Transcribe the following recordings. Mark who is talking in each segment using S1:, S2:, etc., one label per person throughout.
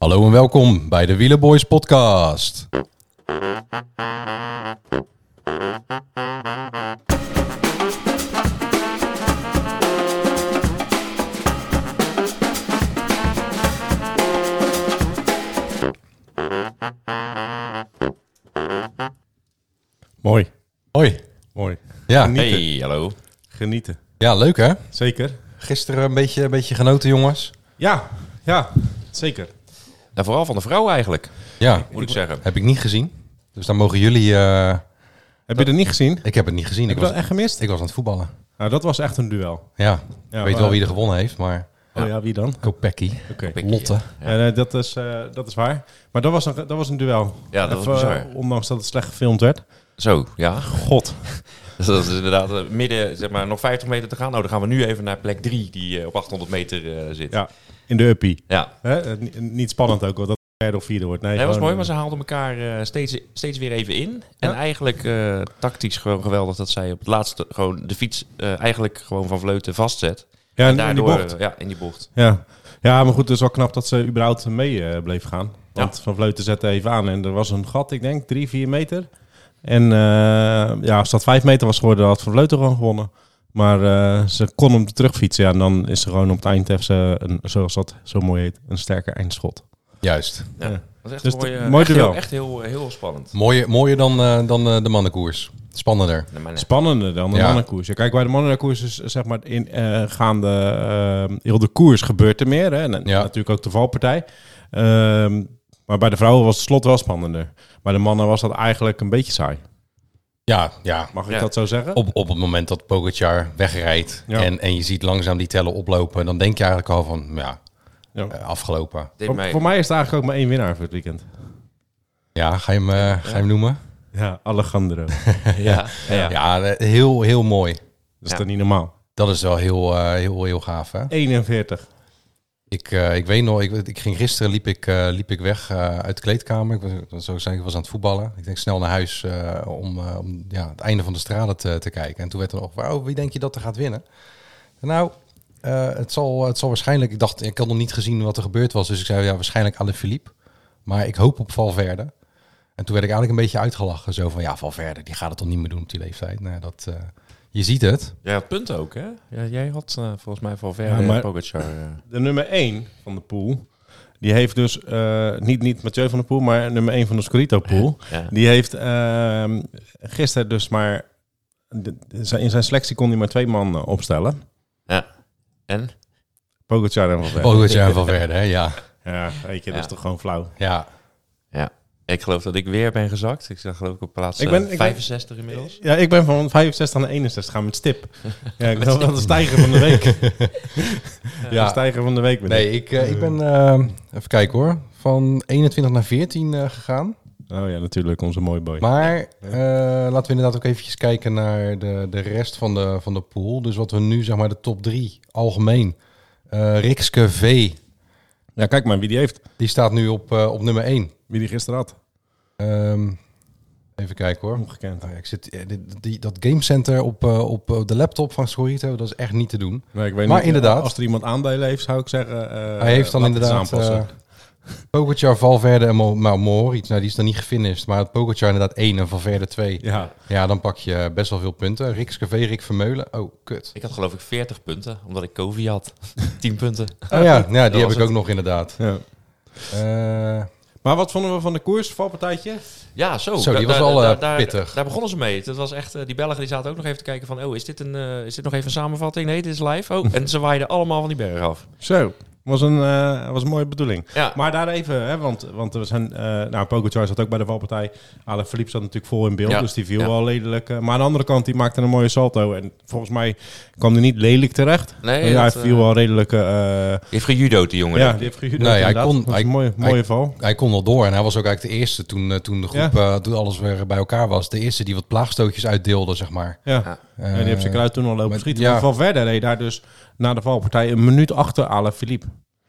S1: Hallo en welkom bij de Wielerboys podcast.
S2: Mooi,
S1: Hoi.
S2: mooi.
S1: Ja,
S2: Genieten.
S3: Ah, Hey, hallo.
S2: Genieten,
S1: ja leuk hè?
S2: zeker.
S1: Gisteren een beetje, een beetje genoten jongens.
S2: Ja, ja, zeker.
S3: Nou, vooral van de vrouw eigenlijk,
S1: Ja,
S3: moet ik zeggen.
S1: heb ik niet gezien. Dus dan mogen jullie... eh,
S2: Heb je dat niet gezien? Heb
S1: ik heb het niet gezien.
S2: je
S1: Ik
S2: dat
S1: was,
S2: echt gemist?
S1: ik was aan het voetballen.
S2: Nou, dat was echt een duel.
S1: Ja,
S2: Ja,
S1: ik weet wel
S2: maar-
S1: wie er gewonnen heeft, maar...
S3: Ah.
S2: Oh ja, wie dan?
S1: Kopecky.
S2: Oké.
S3: Pik-
S1: Lotte.
S2: Ja, nee, dat, is, eh, dat is waar. Maar dat was een, dat was een duel.
S3: Ja, dat was bizar.
S2: eh, Ondanks dat het slecht gefilmd werd.
S3: Zo, ja.
S2: God.
S3: Dus dat is inderdaad eh, midden, zeg maar, nog 50 meter te gaan. Nou, dan gaan we nu even naar plek 3, die eh, op 800 meter eh, zit. Ja.
S2: Ja, in de uppie.
S3: ja.
S2: Hè? Eh, ni- Niet spannend ook, want dat het derde of vierde wordt. Nee,
S3: Nee, dat was
S2: gewoon-
S3: mooi, maar ze haalden elkaar eh, steeds, steeds weer even in. En
S2: Ja.
S3: eigenlijk eh, tactisch gewoon geweldig dat zij op het laatste gewoon de fiets eh, eigenlijk gewoon van vleuten vastzet.
S2: Ja,
S3: en
S2: in, in die bocht.
S3: eh, ja, in die bocht.
S2: Ja. ja, maar goed, het is wel knap dat ze überhaupt mee eh, bleef gaan. Want Van Vleuten zette even aan en er was een gat, ik denk, drie, vier meter. En eh, ja, als dat vijf meter was geworden, had Van Vleuten gewoon gewonnen. Maar eh, ze kon hem terugfietsen. Ja, en dan is ze gewoon op het eind even, ze een, zoals dat zo mooi heet, een sterker eindschot.
S1: Juist.
S3: Ja.
S2: Ja.
S3: Dat was echt
S2: Dus
S3: mooi,
S2: het-
S3: eh,
S2: mooi
S3: echt,
S2: duel.
S3: heel, echt heel, heel spannend.
S1: Mooier, mooier dan, eh, dan eh, de mannenkoers. Spannender.
S3: Nee, maar nee.
S2: Spannender dan de
S1: Ja.
S2: mannenkoers. Ja, kijk, bij de mannenkoers is zeg maar in eh, gaande eh, heel de koers gebeurt er meer. Hè? En
S1: Ja.
S2: natuurlijk ook de valpartij. Ehm, maar bij de vrouwen was het slot wel spannender. Bij de mannen was dat eigenlijk een beetje saai.
S1: Ja, ja.
S2: Mag ik
S3: Ja.
S2: dat zo zeggen?
S1: Op, op het moment dat Pogacar wegrijdt
S2: Ja.
S1: en, en je ziet langzaam die tellen oplopen, dan denk je eigenlijk al van, ja,
S2: Ja.
S1: eh, afgelopen.
S3: Deed
S2: Voor,
S3: mij-
S2: voor mij is het eigenlijk ook maar één winnaar voor het weekend.
S1: Ja, ga je hem, eh, ga je hem noemen?
S2: Ja, Alejandro. dat
S3: ja. Ja.
S1: Ja, eh, heel, heel mooi.
S2: is
S3: Ja.
S2: toch niet normaal?
S1: Dat is wel heel, eh, heel, heel gaaf, hè?
S2: 41.
S1: Ik, eh, ik weet nog, ik, ik ging gisteren liep ik, eh, liep ik weg eh, uit de kleedkamer. Ik was, zoals ik zei, ik was aan het voetballen. Ik denk snel naar huis eh, om, eh, om ja, het einde van de straten te, te kijken. En toen werd er nog, oh, wie denk je dat er gaat winnen? Nou, eh, het, zal, het zal waarschijnlijk, ik dacht, ik had nog niet gezien wat er gebeurd was. Dus ik zei, ja, waarschijnlijk Alaphilippe. Maar ik hoop op Valverde. En toen werd ik eigenlijk een beetje uitgelachen. Zo van, ja, Valverde, die gaat het toch niet meer doen op die leeftijd. Nou, dat, eh, je ziet het.
S3: Jij had punten ook, hè? Ja, jij had eh, volgens mij van ver
S2: Ja, maar-
S3: Pogacar. eh,
S2: De nummer 1 van de pool. Die heeft dus, eh, niet, niet Mathieu van de Poel, maar nummer 1 van de Scorito pool.
S3: ja.
S2: Die heeft ehm, gisteren dus maar... de- zijn- in zijn selectie kon hij maar twee man eh, opstellen.
S3: En?
S2: Pogacar en Van Velde.
S1: Pogacar en Valverde, hè? Ja,
S2: Ja, weet je, dat is
S3: Ja.
S2: toch gewoon flauw.
S1: ja.
S3: Ik geloof dat ik weer ben gezakt. Ik zag geloof ik op plaats
S2: Ik ben-
S3: eh,
S2: ik ben-
S3: 65 inmiddels.
S2: Ja, ik ben van 65 naar 61 gaan met stip. Ja, ik ben wel de stijger van de week. ja, de stijger van de week ben ik.
S1: Nee, ik, eh, ik ben, eh, even kijken hoor, van 21 naar 14 eh, gegaan.
S2: Oh ja, natuurlijk, onze mooie boy.
S1: Maar eh, laten we inderdaad ook eventjes kijken naar de, de rest van de, van de pool. Dus wat we nu, zeg maar, de top 3 algemeen. Eh Rikske V,
S2: Ja, kijk maar wie die heeft.
S1: die staat nu op, eh, op nummer 1.
S2: Wie die gisteren had.
S1: even kijken hoor.
S2: Ongekend.
S1: Nou ja, ik zit, eh, dit- die, dat gamecenter op, eh, op eh, de laptop van Scorito, dat is echt niet te doen.
S2: Nee, ik weet
S1: Maar
S2: niet, eh,
S1: inderdaad.
S2: Als er iemand aandelen heeft, zou ik zeggen... eh,
S1: Hij heeft dan
S2: laat het eens
S1: inderdaad
S2: aanpassen.
S1: eh Pogacar, Valverde en Mo- nou, Mohoric. Nou, die is dan niet gefinished. Maar Pogacar inderdaad 1 en Valverde 2. Ja.
S2: ja,
S1: dan pak je eh, best wel veel punten. Rick Scavé, Rick Vermeulen. Oh, kut.
S3: Ik had geloof ik 40 punten, omdat ik Covid had. 10 punten.
S1: Oh ja, ja die
S3: was
S1: heb ik
S3: het.
S1: ook nog inderdaad.
S2: ja.
S1: Eh,
S2: Maar wat vonden we van de koers? Valpartijtje?
S3: Ja, zo.
S1: Zo, die was
S3: al
S1: wel, eh, pittig.
S3: Daar begonnen ze mee. Dat was echt, eh, die Belgen die zaten ook nog even te kijken van... oh, is dit, een, eh, is dit nog even een samenvatting? Nee, dit is live. Oh, en ze waaiden allemaal van die berg af.
S2: Zo. Was een, eh, was een mooie bedoeling.
S3: Ja,
S2: Maar daar even, hè, want, want er zijn, eh nou, Pogacar zat ook bij de valpartij. Alain Philippe zat natuurlijk vol in beeld,
S3: Ja,
S2: dus die viel
S3: ja.
S2: wel lelijk. eh, maar aan de andere kant, die maakte een mooie salto. En volgens mij kwam hij niet lelijk terecht.
S3: nee.
S2: Dus hij
S3: dat, eh,
S2: viel wel redelijk... eh,
S3: die heeft gejudo'd, die jongen.
S2: ja, die heeft gejudo'd
S1: Nee, hij
S2: inderdaad.
S1: kon-
S2: Dat was
S1: hij-
S2: een mooie,
S1: hij-
S2: mooie val.
S1: hij kon wel door en hij was ook eigenlijk de eerste toen, eh, toen de groep, eh, toen alles weer bij elkaar was. De eerste die wat plaagstootjes uitdeelde, zeg maar.
S2: Ja.
S3: Ja.
S1: Eh,
S2: En die heeft zijn kruid toen al lopen
S1: maar-
S2: schieten.
S1: ja.
S2: Maar Valverde reed daar dus na de valpartij een minuut achter Alain Philippe.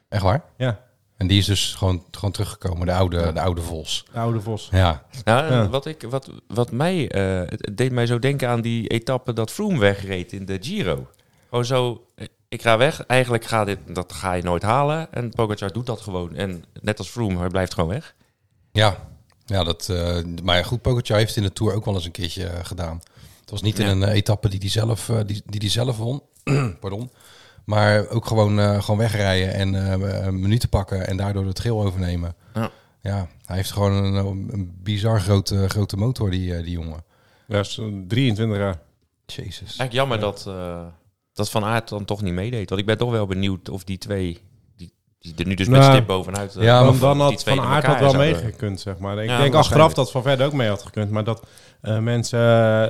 S1: Echt waar?
S2: Ja,
S1: En die is dus gewoon, gewoon teruggekomen, de oude, de oude Vos.
S2: de oude Vos.
S1: Ja,
S3: Nou, en
S2: Ja.
S3: Wat, ik, wat, wat mij, eh, het het deed mij zo denken aan die etappe dat Froome wegreed in de Giro. Gewoon zo, eh, ik ga weg. Eigenlijk ga dit, dat ga je nooit halen. En Pogacar doet dat gewoon. En net als Froome, hij blijft gewoon weg.
S1: Ja, ja dat, eh, maar ja, goed, Pogacar heeft in de Tour ook wel eens een keertje eh, gedaan. Het was niet in
S3: Ja.
S1: een eh, etappe die hij zelf, eh, die, die die zelf won. Pardon. Maar ook gewoon, eh, gewoon wegrijden en eh, een minuten pakken en daardoor het geel overnemen.
S3: Ja.
S1: Ja, hij heeft gewoon een, een bizar grote, grote motor, die, eh, die jongen.
S2: Ja, is een 23 jaar.
S1: Jezus.
S3: Eigenlijk jammer dat, eh, dat Van Aert dan toch niet meedeed. Want ik ben toch wel benieuwd of die twee, die, die er nu dus met
S2: Nou,
S3: stip bovenuit... eh,
S1: Ja,
S2: Ja,
S1: maar
S3: of
S2: dan, dan
S3: die
S2: had
S3: twee
S2: Van
S3: in
S2: Aert had wel
S3: elkaar zouden-
S2: meegekund, zeg maar. Ik
S3: Ja,
S2: denk achteraf
S1: waarschijnlijk.
S2: dat Van Verder ook mee had gekund. Maar dat eh, mensen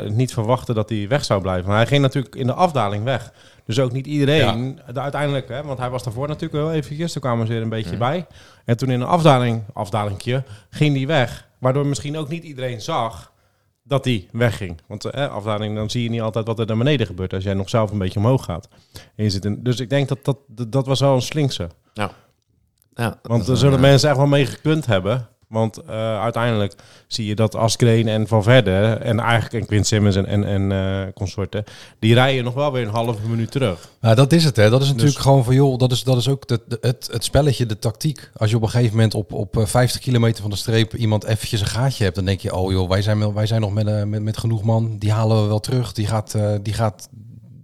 S2: eh, niet verwachten dat hij weg zou blijven. Maar hij ging natuurlijk in de afdaling weg. Dus ook niet iedereen. De, uiteindelijk, hè, want hij was daarvoor natuurlijk wel eventjes. Toen kwamen ze weer een beetje
S3: Mm.
S2: bij. En toen in een afdaling, afdalingje, ging hij weg. Waardoor misschien ook niet iedereen zag dat hij wegging. Want eh, afdaling, dan zie je niet altijd wat er naar beneden gebeurt... als jij nog zelf een beetje omhoog gaat. En je zit in- dus ik denk dat dat, dat, dat was wel een slinkse.
S3: Ja,
S2: Want
S3: dat- eh,
S2: er zullen mensen echt wel mee gekund hebben. Want eh, uiteindelijk zie je dat Askreen en Van Verde en eigenlijk en Quint Simmons en, en, en eh, consorten, die rijden nog wel weer een halve minuut terug.
S1: Nou, dat is het, hè. Dat is natuurlijk gewoon van, joh, dat is, dat is ook de, de- het, het spelletje, de tactiek. Als je op een gegeven moment op, op eh, 50 kilometer van de streep iemand eventjes een gaatje hebt, dan denk je, oh joh, wij zijn, wel- wij zijn nog met, eh, met, met genoeg man, die halen we wel terug, die gaat, eh, die gaat,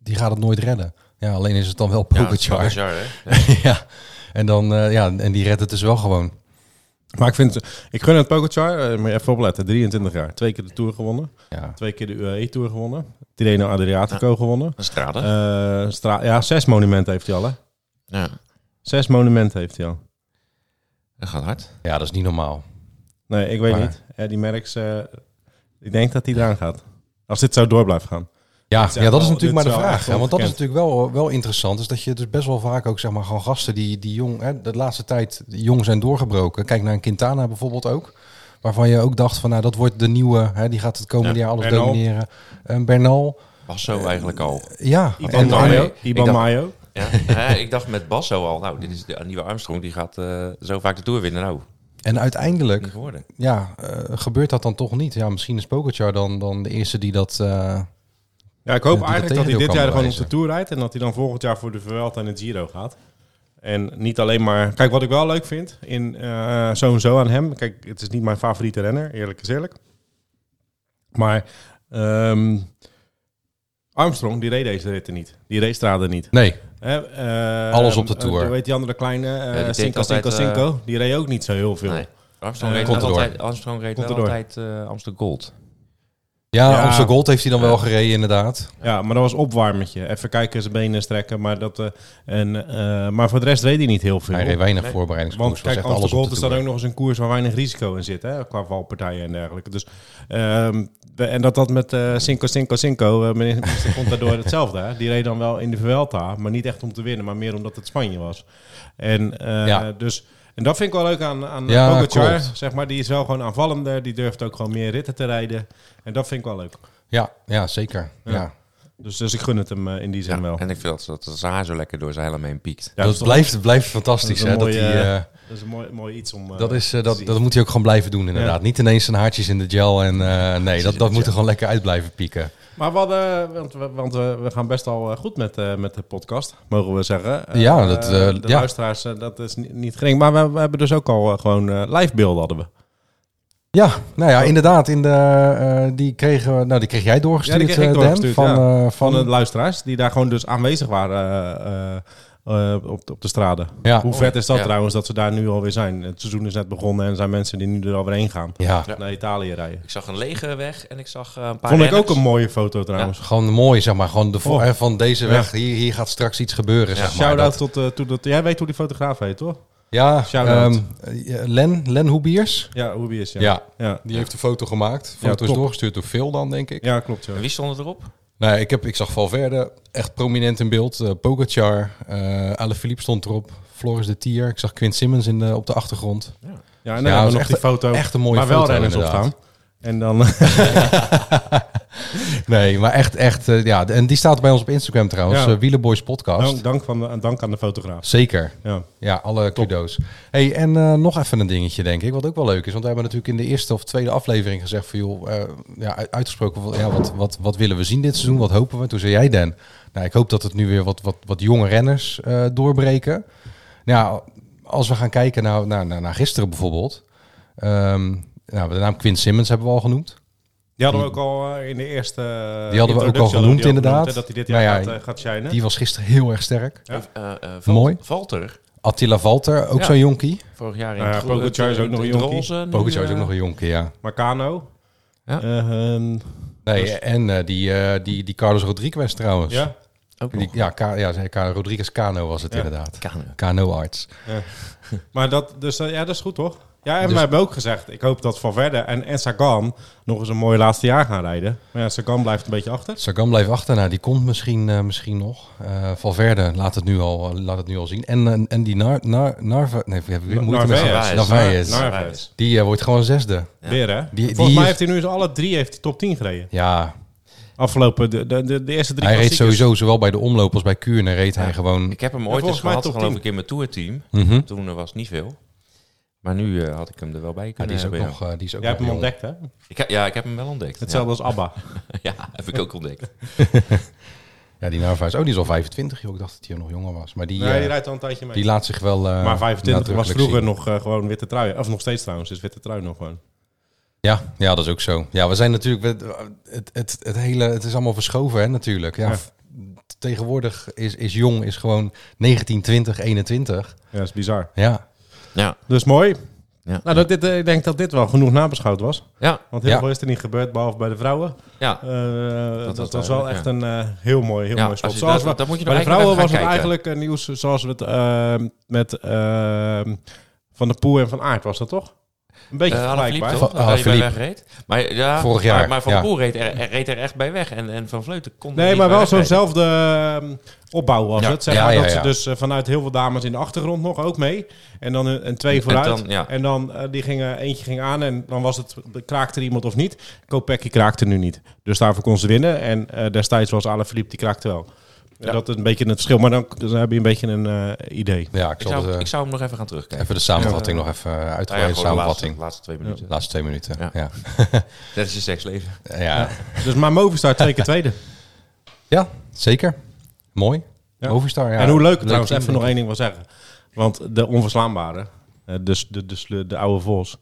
S1: die gaat het nooit redden. Ja, alleen is het dan wel
S3: ja,
S1: Pogacar. Ja,
S3: Pogacar, hè.
S1: en dan, eh, ja, en die redt het dus wel gewoon.
S2: Maar ik vind, ik gun het Pogacar, eh, moet je even opletten, 23 jaar. Twee keer de Tour gewonnen,
S1: Ja,
S2: twee keer de UAE-tour gewonnen, Tirreno Adriatico gewonnen.
S3: Een strade.
S2: Eh, stra- ja, zes monumenten heeft hij al hè.
S3: ja,
S2: Zes monumenten heeft hij al.
S3: dat gaat hard.
S1: ja dat is niet normaal.
S2: Nee, ik weet
S1: Maar-
S2: niet. Eh, die Merckx, eh, ik denk dat hij eraan gaat. Als dit zo door blijft gaan.
S1: Ja,
S2: Dit is
S1: ja, dat
S2: echt
S1: is
S2: wel-
S1: natuurlijk maar
S2: dit
S1: de
S2: is wel
S1: vraag.
S2: echt
S1: hè, want dat is
S2: ongekend.
S1: natuurlijk wel, eh, wel interessant. Is dat je dus best wel vaak ook, zeg maar, gewoon gasten die, die jong, hè, de laatste tijd jong zijn doorgebroken. Kijk naar een Quintana bijvoorbeeld ook. Waarvan je ook dacht van, nou, dat wordt de nieuwe. Hè, die gaat het komende
S3: Ja,
S1: jaar alles
S2: Bernal.
S1: domineren. Een Bernal.
S3: Basso
S2: Eh,
S3: eigenlijk al.
S1: Ja.
S3: Ivan
S1: en-
S2: Iban
S3: Mayo.
S2: Mayo.
S3: Ik
S2: Iban
S3: dacht-
S2: Mayo.
S3: Ja. Ja, ik dacht met Basso al, nou, dit is de nieuwe Armstrong, die gaat eh, zo vaak de Tour winnen. Nou,
S1: En uiteindelijk,
S3: niet geworden.
S1: ja, eh, gebeurt dat dan toch niet. Ja, misschien is Pogacar dan, dan de eerste die dat... eh,
S2: Ja,
S1: Ja, die dat
S2: ik hoop eigenlijk dat hij
S1: tegendeel
S2: dit
S1: kan
S2: jaar gewoon op
S1: bewijzen.
S2: de Tour rijdt. En dat hij dan volgend jaar voor de Vuelta en het Giro gaat. En niet alleen maar... Kijk, wat ik wel leuk vind in eh, zo en zo aan hem. Kijk, het is niet mijn favoriete renner, eerlijk is eerlijk. Maar ehm, Armstrong, die reed deze ritten niet. Die reed straden niet.
S1: nee,
S2: Hè, eh,
S1: Alles op de
S2: eh,
S1: Tour.
S2: Hoe heet die andere kleine? eh
S3: die deed
S2: Cinco, Cinco,
S3: altijd, eh,
S2: Cinco. Die reed ook niet zo heel veel.
S3: Nee. Armstrong
S2: Eh,
S3: reed wel
S1: Contador.
S3: altijd, Armstrong reed wel
S2: Contador.
S3: altijd eh, Amsterdam Gold.
S1: ja,
S2: Ja.
S1: Amstel Gold heeft hij dan wel
S3: Ja.
S1: gereden inderdaad.
S2: Ja, maar dat was opwarmetje. Even kijken, zijn benen strekken. Maar, dat, eh, en, eh, maar voor de rest reed hij niet heel veel.
S1: Hij reed weinig
S3: Nee.
S1: voorbereidingskoers.
S2: Want
S1: Was echt
S2: kijk,
S1: alles
S2: Amsterdam
S1: op
S2: Gold
S1: de
S2: is dan
S1: tour.
S2: ook nog eens een koers waar weinig risico in zit. Hè? Qua valpartijen en dergelijke. Dus, ehm, we- en dat dat met eh Cinco, Cinco, Cinco, eh, meneer minister Contador hetzelfde. Hè? Die reed dan wel in de Vuelta, maar niet echt om te winnen. Maar meer omdat het Spanje was. En, eh,
S1: Ja.
S2: dus, en dat vind ik wel leuk aan, aan
S1: Ja,
S2: Pogacar.
S1: klopt.
S2: Zeg maar, die is wel gewoon aanvallender. Die durft ook gewoon meer ritten te rijden. En dat vind ik wel leuk.
S1: Ja, ja, zeker.
S2: Ja.
S1: ja.
S2: Dus, dus ik gun het hem eh, in die zin
S3: Ja,
S2: wel.
S3: en ik vind dat, ze- dat ze haar zo lekker door zijn helemaal heen piekt.
S2: Ja,
S1: dat
S2: is toch-
S1: blijft, blijft fantastisch.
S2: dat is een
S1: hè, dat,
S2: mooie,
S1: hij,
S2: eh,
S1: eh,
S2: dat is een mooi, mooi iets om. eh,
S1: dat, is, eh,
S2: te
S1: dat,
S2: zien.
S1: dat moet hij ook gewoon blijven doen, inderdaad. Niet ineens zijn haartjes in de gel. En, eh, nee, dat, dat moet er gewoon lekker uit blijven pieken.
S2: Maar we hadden, want, we, want we, we gaan best al eh, goed met, eh, met de podcast, mogen we zeggen. Eh,
S1: Ja, dat, eh,
S2: de
S1: ja.
S2: luisteraars, eh, dat is niet, niet gering. Maar we, we hebben dus ook al eh, gewoon eh, live beelden hadden we.
S1: Ja, nou ja, inderdaad. In de, eh, die, kregen, we- nou, die kreeg jij doorgestuurd,
S2: Ja, die kreeg ik
S1: eh, Dan,
S2: doorgestuurd,
S1: van,
S2: ja.
S1: eh, van,
S2: Van de luisteraars die daar gewoon dus aanwezig waren eh, eh, eh, op, de- op de straden.
S1: Ja.
S2: Hoe vet is dat
S3: Ja.
S2: trouwens dat ze daar nu alweer zijn? Het seizoen is net begonnen en er zijn mensen die nu er alweer heen gaan.
S1: Ja,
S3: Ja.
S2: Naar Italië rijden.
S3: Ik zag een lege weg en ik zag eh, een paar
S2: Vond ik
S3: renners.
S2: ook een mooie foto trouwens.
S1: gewoon mooi, zeg maar. Gewoon de, vo-
S2: Oh.
S1: hè, van deze
S2: Ja.
S1: weg, hier, hier gaat straks iets gebeuren, zeg maar.
S2: Shout-out
S1: Dat-
S2: tot, eh, toe dat... Jij weet hoe die fotograaf heet, toch?
S1: Ja,
S2: Shout-out.
S1: ehm, eh, Len, Len Hoebiers.
S2: Ja, hoe wie is ja.
S1: Ja.
S2: ja.
S1: die heeft de foto gemaakt.
S2: Ja,
S1: Foto is
S2: top.
S1: doorgestuurd door Phil dan, denk ik.
S2: Ja, klopt. Ja.
S3: En wie stond erop?
S1: Nou, ik, heb, ik zag Valverde echt prominent in beeld. Eh Pogacar, eh Alaphilippe stond erop. Floris de Tier. Ik zag Quint Simmons in de, op de achtergrond.
S2: Ja, en
S1: Ja,
S2: dan hebben
S1: dat
S2: we
S1: is
S2: nog
S1: echt
S2: die
S1: een-
S2: foto
S1: Echt een mooie
S2: waar
S1: foto
S2: wel renners op
S1: inderdaad.
S2: staan. En
S1: eh,
S2: dan...
S1: Nee, maar echt, echt. eh, ja, en die staat bij ons op Instagram trouwens.
S2: Ja. Nou.
S1: eh, Wielerboys Podcast.
S2: dank, dank, van de- dank aan de fotograaf.
S1: Zeker.
S2: Ja.
S1: Ja, alle kudo's. Hey, en eh, nog even een dingetje, denk ik, wat ook wel leuk is. Want we hebben natuurlijk in de eerste of tweede aflevering gezegd van... joh, eh, ja, u- uitgesproken, van, ja, wat, wat, wat willen we zien dit seizoen? Wat hopen we? Toen zei jij, Dan, nou, ik hoop dat het nu weer wat, wat, wat jonge renners eh, doorbreken. Nou, als we gaan kijken naar, naar, naar, naar gisteren bijvoorbeeld... ehm, nou, de naam Quinn Simmons hebben we al genoemd.
S2: Die hadden we ook al eh, in de eerste...
S1: Die hadden we ook al genoemd, inderdaad.
S2: dat hij dit
S1: Nou
S2: jaar
S1: ja,
S2: gaat, eh, gaat shinen.
S1: Die was gisteren heel erg sterk.
S2: Ja.
S3: Eh, eh,
S1: Mooi.
S3: Valter,
S1: Attila Valter, ook
S3: Ja.
S1: zo'n jonkie.
S3: vorig jaar in
S2: Nou ja,
S3: het groen-
S2: Pogacar is
S3: het-
S2: ook nog een
S3: het
S2: jonkie.
S3: roze, nu,
S1: Pogacar is
S3: eh,
S1: ook nog een jonkie, ja.
S2: Marcano.
S3: Ja.
S2: Eh, ehm,
S1: Nee,
S2: Dus-
S1: en eh, die, eh, die, die Carlos Rodriguez trouwens.
S2: ja.
S3: ook
S1: Die,
S3: nog.
S1: ja, Ka ja, zei Ka- Rodriguez Cano was het
S2: Oh. Ja.
S1: inderdaad.
S3: Kano.
S1: Cano-arts.
S2: Maar dat, dus, eh, ja, dat is goed, toch? Ja, en
S1: Dus-
S2: we hebben ook gezegd, ik hoop dat Valverde en, en Sagan nog eens een mooi laatste jaar gaan rijden. Maar ja, Sagan blijft een beetje achter.
S1: Sagan blijft achter. Nou, die komt misschien, eh, misschien nog. Eh, Valverde laat het nu al, eh, laat het nu al zien. En, eh, en, en die Nar, Nar, Narva... Nee, ik heb weer moeite met
S2: Narvaez.
S1: zijn- Narvaez.
S3: Nar-
S2: Narvaez.
S1: Die eh, wordt gewoon zesde.
S3: Ja.
S2: Weer, hè?
S1: die
S2: Volgens mij
S1: is-
S2: heeft hij nu eens alle drie heeft hij top 10 gereden.
S1: Ja,
S2: Afgelopen, de, de, de, de eerste drie
S1: hij reed
S2: klassiekers.
S1: sowieso zowel bij de omloop als bij Kuurne reed hij gewoon...
S3: Ik heb hem
S2: Ja,
S3: ooit eens
S2: volgens mij
S3: gehad,
S2: top
S3: geloof
S2: 10.
S3: ik, in mijn tourteam.
S1: Mhm.
S3: Toen eh, was het niet veel. Maar nu eh, had ik hem er wel bij
S2: Ah,
S1: Ja,
S3: kunnen
S1: die is ook
S3: hebben. ja.
S1: nog... eh, die is ook
S2: Jij hebt
S1: nog
S2: hem
S1: jong.
S2: ontdekt, hè?
S3: Ik, he- ja, ik heb hem wel ontdekt.
S2: Hetzelfde als ABBA.
S3: Ja, ja, heb ik ook ontdekt.
S1: Ja, die Narvaez. Oh, die is al 25. joh. Ik dacht dat hij nog jonger was. Maar die,
S2: nee, die
S1: eh,
S2: rijdt al een tijdje mee.
S1: die laat zich wel eh,
S2: maar 25 was
S1: nadrukkelijk
S2: vroeger
S1: zien.
S2: nog eh, gewoon witte trui. Of nog steeds trouwens, is witte trui nog gewoon.
S1: Ja, ja, dat is ook zo. Ja, we zijn natuurlijk. Het, het, het hele. Het is allemaal verschoven, hè, natuurlijk. Ja,
S2: Ja.
S1: f- Tegenwoordig is, is jong is gewoon 19, 20, 21.
S2: Ja, dat is bizar.
S1: Ja.
S3: Ja,
S2: Dus mooi.
S3: ja.
S2: Nou, dat dit, eh, ik denk dat dit wel genoeg nabeschouwd was.
S3: ja,
S2: Want heel
S1: Ja.
S2: veel is er niet gebeurd, behalve bij de vrouwen.
S3: ja.
S2: Eh, dat,
S3: was
S2: was wel
S3: duidelijk,
S2: echt
S3: ja.
S2: een eh, heel mooi, heel
S3: Ja,
S2: mooi spot.
S3: als je-
S2: Zoals
S3: dat-
S2: we-
S3: dat moet je
S2: bij
S3: nou
S2: de vrouwen
S3: eigenlijk
S2: was
S3: gaan
S2: het eigenlijk
S3: kijken.
S2: een nieuws zoals we het eh, met eh, Van der Poel en Van Aert was dat toch? Een beetje
S3: Eh, Alaphilippe,
S2: vergelijkbaar.
S3: toch?
S1: Van-
S3: Daar waar je bij
S1: Alaphilippe.
S3: wegreed. Maar, ja,
S1: Vorig
S3: maar-
S1: jaar,
S3: Maar, Van
S1: ja.
S3: Poel reed er, er- reed er echt bij weg. En, en Van Vleuten kon er
S2: Nee,
S3: niet
S2: maar
S3: bij
S2: wel
S3: wegrijden.
S2: zo'nzelfde ehm, opbouw was
S1: Ja.
S2: het. Zeg
S1: Ja,
S2: maar,
S1: ja,
S2: dat
S1: ja.
S2: ze dus eh, vanuit heel veel dames in de achtergrond nog ook mee. En dan een, een twee vooruit.
S3: dan, ja.
S2: En dan, eh, die gingen, eentje ging aan en dan was het, kraakte er iemand of niet. Kopecky kraakte nu niet. Dus daarvoor kon ze winnen. En eh, destijds was Alaphilippe, die kraakte wel. En
S3: Ja.
S2: Dat is een beetje het verschil. Maar dan, dan heb je een beetje een eh, idee.
S1: Ja, ik
S3: Ik
S1: zal
S3: zou,
S1: dus, eh,
S3: ik zou hem nog even gaan terugkijken.
S1: even de samenvatting nog even eh,
S3: Nou ja,
S1: uitgebreide
S3: gewoon de laatste,
S1: samenvatting.
S3: laatste twee minuten.
S1: Laatste twee minuten. Ja.
S3: Ja.
S1: Ja.
S3: Dat is je seksleven.
S1: ja.
S2: Dus maar Movistar twee keer tweede.
S1: zeker. Mooi.
S2: Ja.
S1: Overstar. Ja.
S2: en hoe leuk het
S1: Leuk
S2: trouwens,
S1: team,
S2: even
S1: denk
S2: nog één ding wil zeggen. Want de onverslaanbare, eh, dus de, dus de, de oude Vos.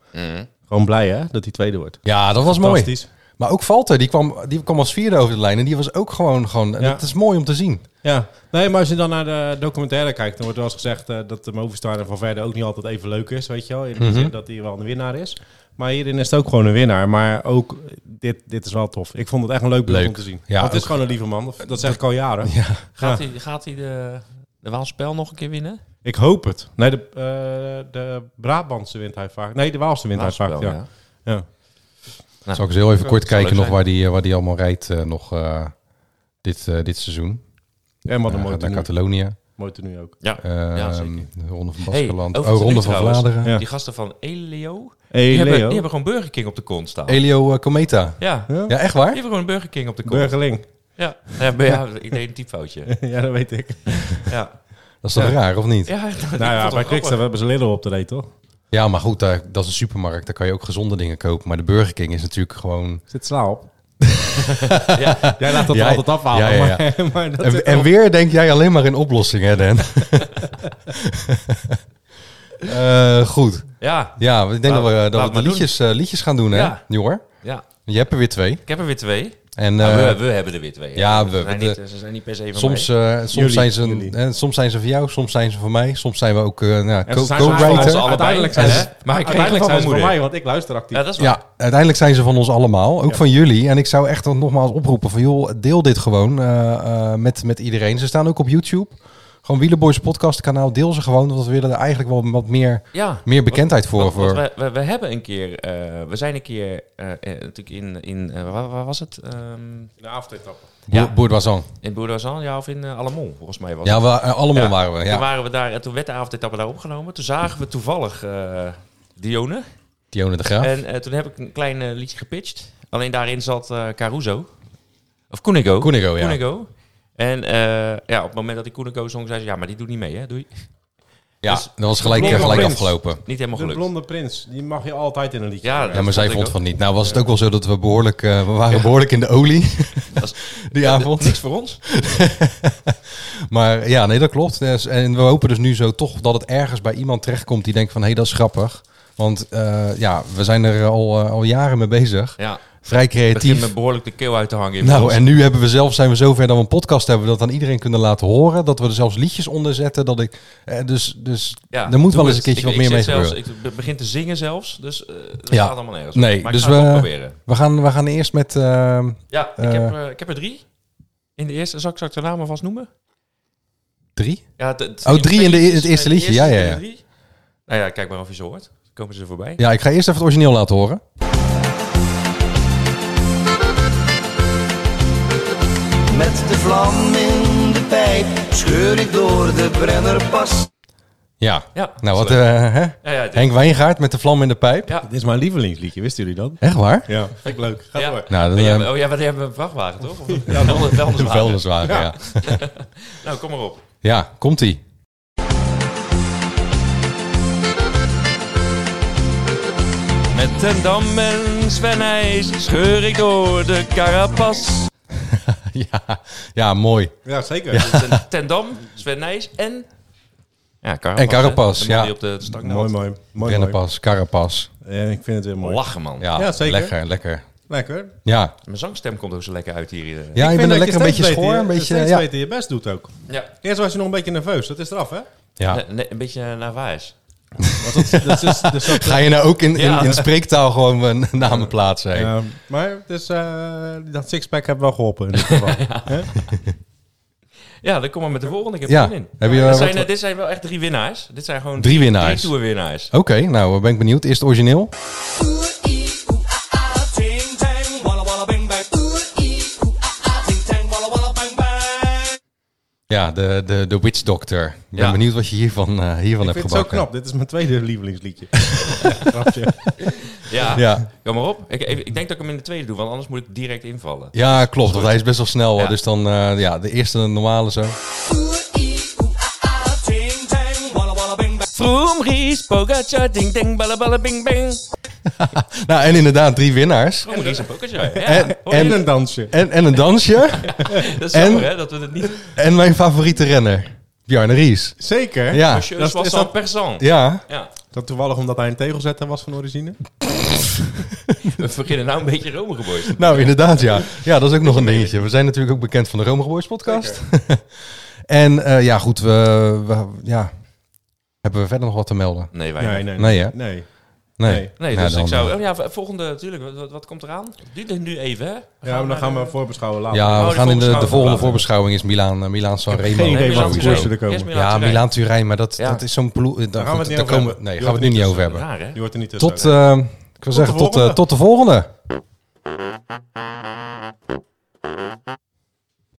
S2: Gewoon blij hè, dat hij tweede wordt.
S1: ik. Ja, dat was mooi.
S2: Fantastisch.
S1: Maar ook Valter, die kwam, die kwam als vierde over de lijn. En die was ook gewoon. gewoon en
S2: Ja.
S1: Het is mooi om te zien.
S2: Ja, nee, maar als je dan naar de documentaire kijkt, dan wordt wel eens gezegd eh, dat de Movistar en Van Verde ook niet altijd even leuk is, weet je wel. In de zin dat hij wel een winnaar is. Maar hierin is het ook gewoon een winnaar. Maar ook, dit, dit is wel tof. Ik vond het echt een leuk beeld
S1: Leuk.
S2: om te zien.
S1: Ja,
S2: Want het is
S1: ook-
S2: gewoon een lieve man. Dat zeg ik al jaren.
S3: Gaat, hij, gaat hij de, de Waalspel nog een keer winnen?
S2: Ik hoop het. Nee, de, eh, de Brabantse wint hij vaak. Nee, de Waalse wint hij vaak,
S3: Waalspel,
S2: ja. ja.
S3: Ja.
S1: Zal ik eens heel even kort
S3: zou leuk
S1: kijken nog
S3: zijn.
S1: waar die, eh, waar die allemaal rijdt eh, nog eh, dit, eh, dit seizoen.
S2: En
S1: Hij
S2: wat een mooi
S1: gaat naar
S2: tenue.
S1: Catalonië.
S2: Mooi tenue ook.
S3: ja.
S1: Ehm,
S3: Ja, zeker.
S1: de Ronde van
S3: Hey,
S1: Baskeland.
S3: over
S1: oh,
S3: tot
S1: Ronde
S3: nu
S1: van
S3: trouwens.
S1: Vlaanderen.
S2: Ja.
S3: Die gasten van Elio,
S2: Hey,
S3: die, hebben,
S2: Leo.
S3: die hebben gewoon Burger King op de kont staan.
S1: Elio eh, Cometa.
S3: ja. die
S2: Ja?
S1: Ja, echt waar?
S3: hebben gewoon Burger King op de kont.
S2: Burgerling.
S3: Ja. Ja, maar ja, ik deed een typfoutje.
S2: ja, dat weet ik.
S3: Ja.
S1: Dat is toch raar, of niet? Ja,
S3: Ja, dat- ik
S2: Nou ja,
S3: vond het wel
S2: bij
S3: grappig.
S2: Quickstep hebben ze Lidl op de reet, toch?
S1: maar goed, daar, dat is een supermarkt. Daar kan je ook gezonde dingen kopen. Maar de Burger King is natuurlijk gewoon...
S2: Zit sla op?
S3: Ja.
S2: Jij laat dat
S1: Jij-
S2: altijd afhalen.
S1: Ja, ja,
S2: Maar, maar dat
S1: En, en weer denk jij alleen maar in oplossingen, hè, Dan? Eh, goed.
S3: ja,
S1: Ja, ik denk
S3: Laat-
S1: dat we, eh, dat
S3: laat
S1: we de
S3: maar doen.
S1: liedjes, eh, liedjes gaan doen, hè,
S3: Ja.
S1: Jor?
S3: ja.
S1: Je hebt er weer twee.
S3: Ik heb er weer twee.
S1: En
S3: Nou,
S1: eh,
S3: we, we hebben er weer twee.
S1: ja,
S3: Ze
S1: we-
S3: zijn
S1: de-
S3: niet, ze zijn niet per se van
S1: soms,
S3: mij.
S1: eh, soms,
S2: Jullie,
S1: zijn ze,
S2: jullie.
S1: eh, soms zijn ze van jou, soms zijn ze van mij. Soms zijn we ook eh, nou,
S2: Ja,
S1: co-
S2: ze zijn van
S1: co-writer.
S2: ons
S3: allebei.
S2: Uiteindelijk
S3: En
S2: zijn
S3: ze-
S2: ze,
S3: maar ik kreeg het
S2: uiteindelijk
S3: van
S2: zijn
S3: mijn
S2: ze voor
S3: moeder.
S2: mij, want ik luister actief.
S3: Ja, dat is waar.
S1: Ja, uiteindelijk zijn ze van ons allemaal, ook
S2: Ja.
S1: van jullie. En ik zou echt dan nogmaals oproepen van joh, deel dit gewoon eh, eh, met, met iedereen. Ze staan ook op YouTube. Gewoon Wielerboys podcast kanaal, deel ze gewoon. Want we willen er eigenlijk wel wat meer,
S3: Ja.
S1: meer bekendheid voor.
S3: Want- want
S1: voor.
S3: we, we, we hebben een keer, eh, we zijn een keer eh, eh, natuurlijk in, in eh, waar, waar was het? Ehm,
S2: De avondetappen.
S3: ja.
S1: Boer- Bourdoisan.
S3: in Bourdasan, ja, of in eh, Alamon, volgens mij was
S1: Ja, we, eh, allemaal
S3: Ja.
S1: waren we.
S3: Toen
S1: Ja.
S3: waren we daar en toen werd de avondetappe daar opgenomen. Toen zagen we toevallig eh Dione.
S1: Tione de Graaf.
S3: En eh, toen heb ik een klein eh, liedje gepitcht. Alleen daarin zat eh, Caruso. Of Koenigo.
S1: Koenigo, ja.
S3: Koenigo. En eh, ja, op het moment dat ik Koenigo zong, zei ze... Ja, maar die doet niet mee, hè? Doei.
S1: Ja,
S3: Dus-
S1: dat was gelijk, eh,
S2: Blonde
S1: gelijk
S2: Prins.
S1: afgelopen.
S3: Niet helemaal
S2: De
S3: gelukt.
S2: blonde prins, die mag je altijd in een liedje.
S3: Ja,
S2: brengen.
S1: Ja, maar zij
S3: vond ik
S1: vond
S3: ook.
S1: van niet. Nou was het ook wel zo dat we behoorlijk, eh, we waren behoorlijk in de olie
S3: Dat
S1: die avond.
S3: Niks voor ons.
S1: Maar ja, nee, dat klopt. Dus- En we hopen dus nu zo toch dat het ergens bij iemand terechtkomt die denkt van, hé, dat is grappig. Want eh, ja, we zijn er al, eh, al jaren mee bezig.
S3: Ja,
S1: Vrij
S3: begint
S1: creatief.
S3: me behoorlijk de keel uit te hangen.
S1: Nou,
S3: inmiddels.
S1: en nu hebben we zelf, zijn we zover dat we een podcast hebben dat aan iedereen kunnen laten horen. Dat we er zelfs liedjes onder zetten. Dat ik, eh, dus dus
S3: Ja,
S1: er moet
S3: doe
S1: wel eens een
S3: het.
S1: keertje
S3: Ik-
S1: wat meer
S3: ik
S1: mee
S3: zit zelfs-
S1: gebeuren.
S3: Ik be- begin te zingen zelfs, dus eh dat
S1: Ja.
S3: gaat allemaal nergens.
S1: Nee,
S3: maar
S1: dus
S3: ik ga het
S1: we-
S3: wel proberen.
S1: We gaan, we gaan eerst met... eh,
S3: Ja, ik,
S1: eh,
S3: heb, eh, ik heb er drie. In de eerste, zal ik, zal ik de namen vast noemen?
S1: Drie?
S3: Ja, het- het-
S1: Oh, drie in de- in het eerste
S3: in de
S1: liedje, ja, ja,
S3: zijn
S1: ja.
S3: er drie. Nou ja, kijk maar of je ze hoort. Dan komen ze er voorbij.
S1: Ja, ik ga eerst even het origineel laten horen.
S4: Met de vlam in de pijp scheur ik door de Brennerpas.
S1: Ja.
S3: Ja,
S1: Nou, wat,
S3: zo.
S1: eh, hè?
S3: Ja, ja, dit-
S1: Henk Wijngaard met de vlam in de pijp.
S3: Ja.
S2: Dit is mijn lievelingsliedje, wisten jullie dat?
S1: Echt waar?
S2: Ja, vind ik leuk. Ga
S3: Ja.
S2: door.
S1: Nou,
S3: Oh
S1: dat
S3: ja,
S1: is
S3: oh ja, maar die hebben een vrachtwagen, toch? Of een velden-
S1: een
S3: velderswagen.
S1: vuilniswagen, ja.
S3: Nou, kom maar op.
S1: Ja, komt-ie.
S3: Met ten dam en Svenijs scheur ik door de carapas.
S1: ja, ja, mooi.
S2: Ja, zeker.
S3: Ten, ten dam, Svenijs en... Ja, carapas.
S1: En Carapas,
S3: hè? De man
S1: ja.
S3: Die op de nou stang
S2: Mooi,
S3: had.
S2: mooi. mooi, mooi.
S1: Rennenpas, Carapas.
S2: Ja, ik vind het weer mooi.
S3: Lachen, man.
S1: Ja,
S2: Ja, zeker.
S1: lekker, lekker.
S2: Lekker.
S1: Ja,
S3: Mijn zangstem komt ook zo lekker uit hier. eh.
S1: ja je bent er lekker een beetje schoor. Een beetje,
S2: steeds
S1: ja.
S2: beter je best doet ook.
S3: ja.
S2: Eerst was je nog een beetje nerveus, dat is eraf hè?
S1: Ja.
S3: Ne- ne- een beetje naar Navaas.
S2: Want dat, dat is, dus dat,
S1: Ga je nou ook in, in,
S3: Ja.
S1: in spreektaal gewoon mijn namen plaatsen? hè?
S2: Ja, maar dus, eh, dat sixpack heeft wel geholpen in ieder geval. Hè?
S3: Ja, dan kom maar met de volgende. Ik heb
S1: Ja.
S3: er zin in.
S1: Heb je,
S3: Ja,
S1: eh,
S3: dit,
S1: wat-
S3: zijn, eh, dit zijn wel echt drie winnaars. Dit zijn gewoon
S1: Drie winnaars.
S3: Drie toerwinnaars.
S1: Oké, nou ben ik benieuwd. Eerst het origineel.
S4: ah, Ting tang, walla walla bang bang. ah, Ting tang, walla walla bang bang.
S1: Ja, de, de, de Witch Doctor. Ik ben
S3: Ja.
S1: benieuwd wat je hiervan, eh, hiervan
S2: Ik
S1: hebt
S2: vind het zo
S1: gebakken.
S2: knap, dit is mijn tweede lievelingsliedje. Grapje.
S3: Ja.
S1: Ja.
S3: Kom maar op. Ik, ik ik denk dat ik hem in de tweede doe, want anders moet ik direct invallen.
S1: Ja, klopt. Want hij is best wel snel.
S3: Ja.
S1: Dus dan eh, ja, de eerste de normale zo.
S4: Ting tang, walla walla bang bang.
S3: Vroom, Ries, Pogacar, ding, ding, balla, balla, bing, bing.
S1: Nou, en inderdaad drie winnaars.
S3: Vroom, Ries en Pogacar. Ja,
S1: En-
S3: hoor je?
S2: En een dansje.
S1: En, en een dansje.
S3: dat is
S1: en-
S3: jammer, hè, dat we het niet...
S1: en mijn favoriete renner. Bjarne Ries.
S2: Zeker.
S1: Ja.
S3: Monsieur
S2: dat is-
S3: Soissons
S2: is dat-
S3: Persan.
S1: Ja.
S3: Ja.
S2: Dat toevallig omdat hij een tegelzetter was van origine.
S3: We beginnen nou een beetje Rome geboord.
S1: Nou, inderdaad, ja. Ja, dat is ook nog een dingetje. We zijn natuurlijk ook bekend van de Romige Boys podcast. en eh, ja, goed. We, we- ja. Hebben we verder nog wat te melden?
S3: Nee, wij
S2: Nee,
S3: niet.
S2: nee.
S1: Nee, hè?
S2: Nee.
S1: Nee.
S2: Nee.
S3: Nee,
S1: Nou,
S3: dus
S1: dan,
S3: ik
S1: eh,
S3: zou... Oh ja, volgende, natuurlijk. Wat, wat, wat komt eraan? Duurt het nu even, hè?
S2: Ja, maar dan gaan we voorbeschouwen later.
S1: Ja,
S3: Oh,
S1: we
S3: die
S1: gaan in de, de
S3: voorbeschouwing
S1: volgende
S3: later.
S1: voorbeschouwing is Milaan, eh, Milaan San Remo.
S2: geen idee
S1: Nee,
S2: wat
S1: sowieso.
S2: voor koersen er komen.
S1: Ja, Milaan Turijn, maar dat,
S3: Ja.
S1: dat is zo'n ploeg. eh,
S2: Daar gaan we het
S1: goed,
S2: niet
S1: daar
S2: over
S1: komen-
S2: hebben.
S1: Nee,
S2: Je
S1: gaan we het nu
S2: hoort
S1: niet
S2: het
S1: over hebben.
S3: Raar, hè?
S2: Je wordt er
S1: eh,
S2: niet tussen.
S1: Tot, eh, ik wil zeggen,
S2: de
S1: tot, eh,
S2: volgende.
S1: tot de volgende.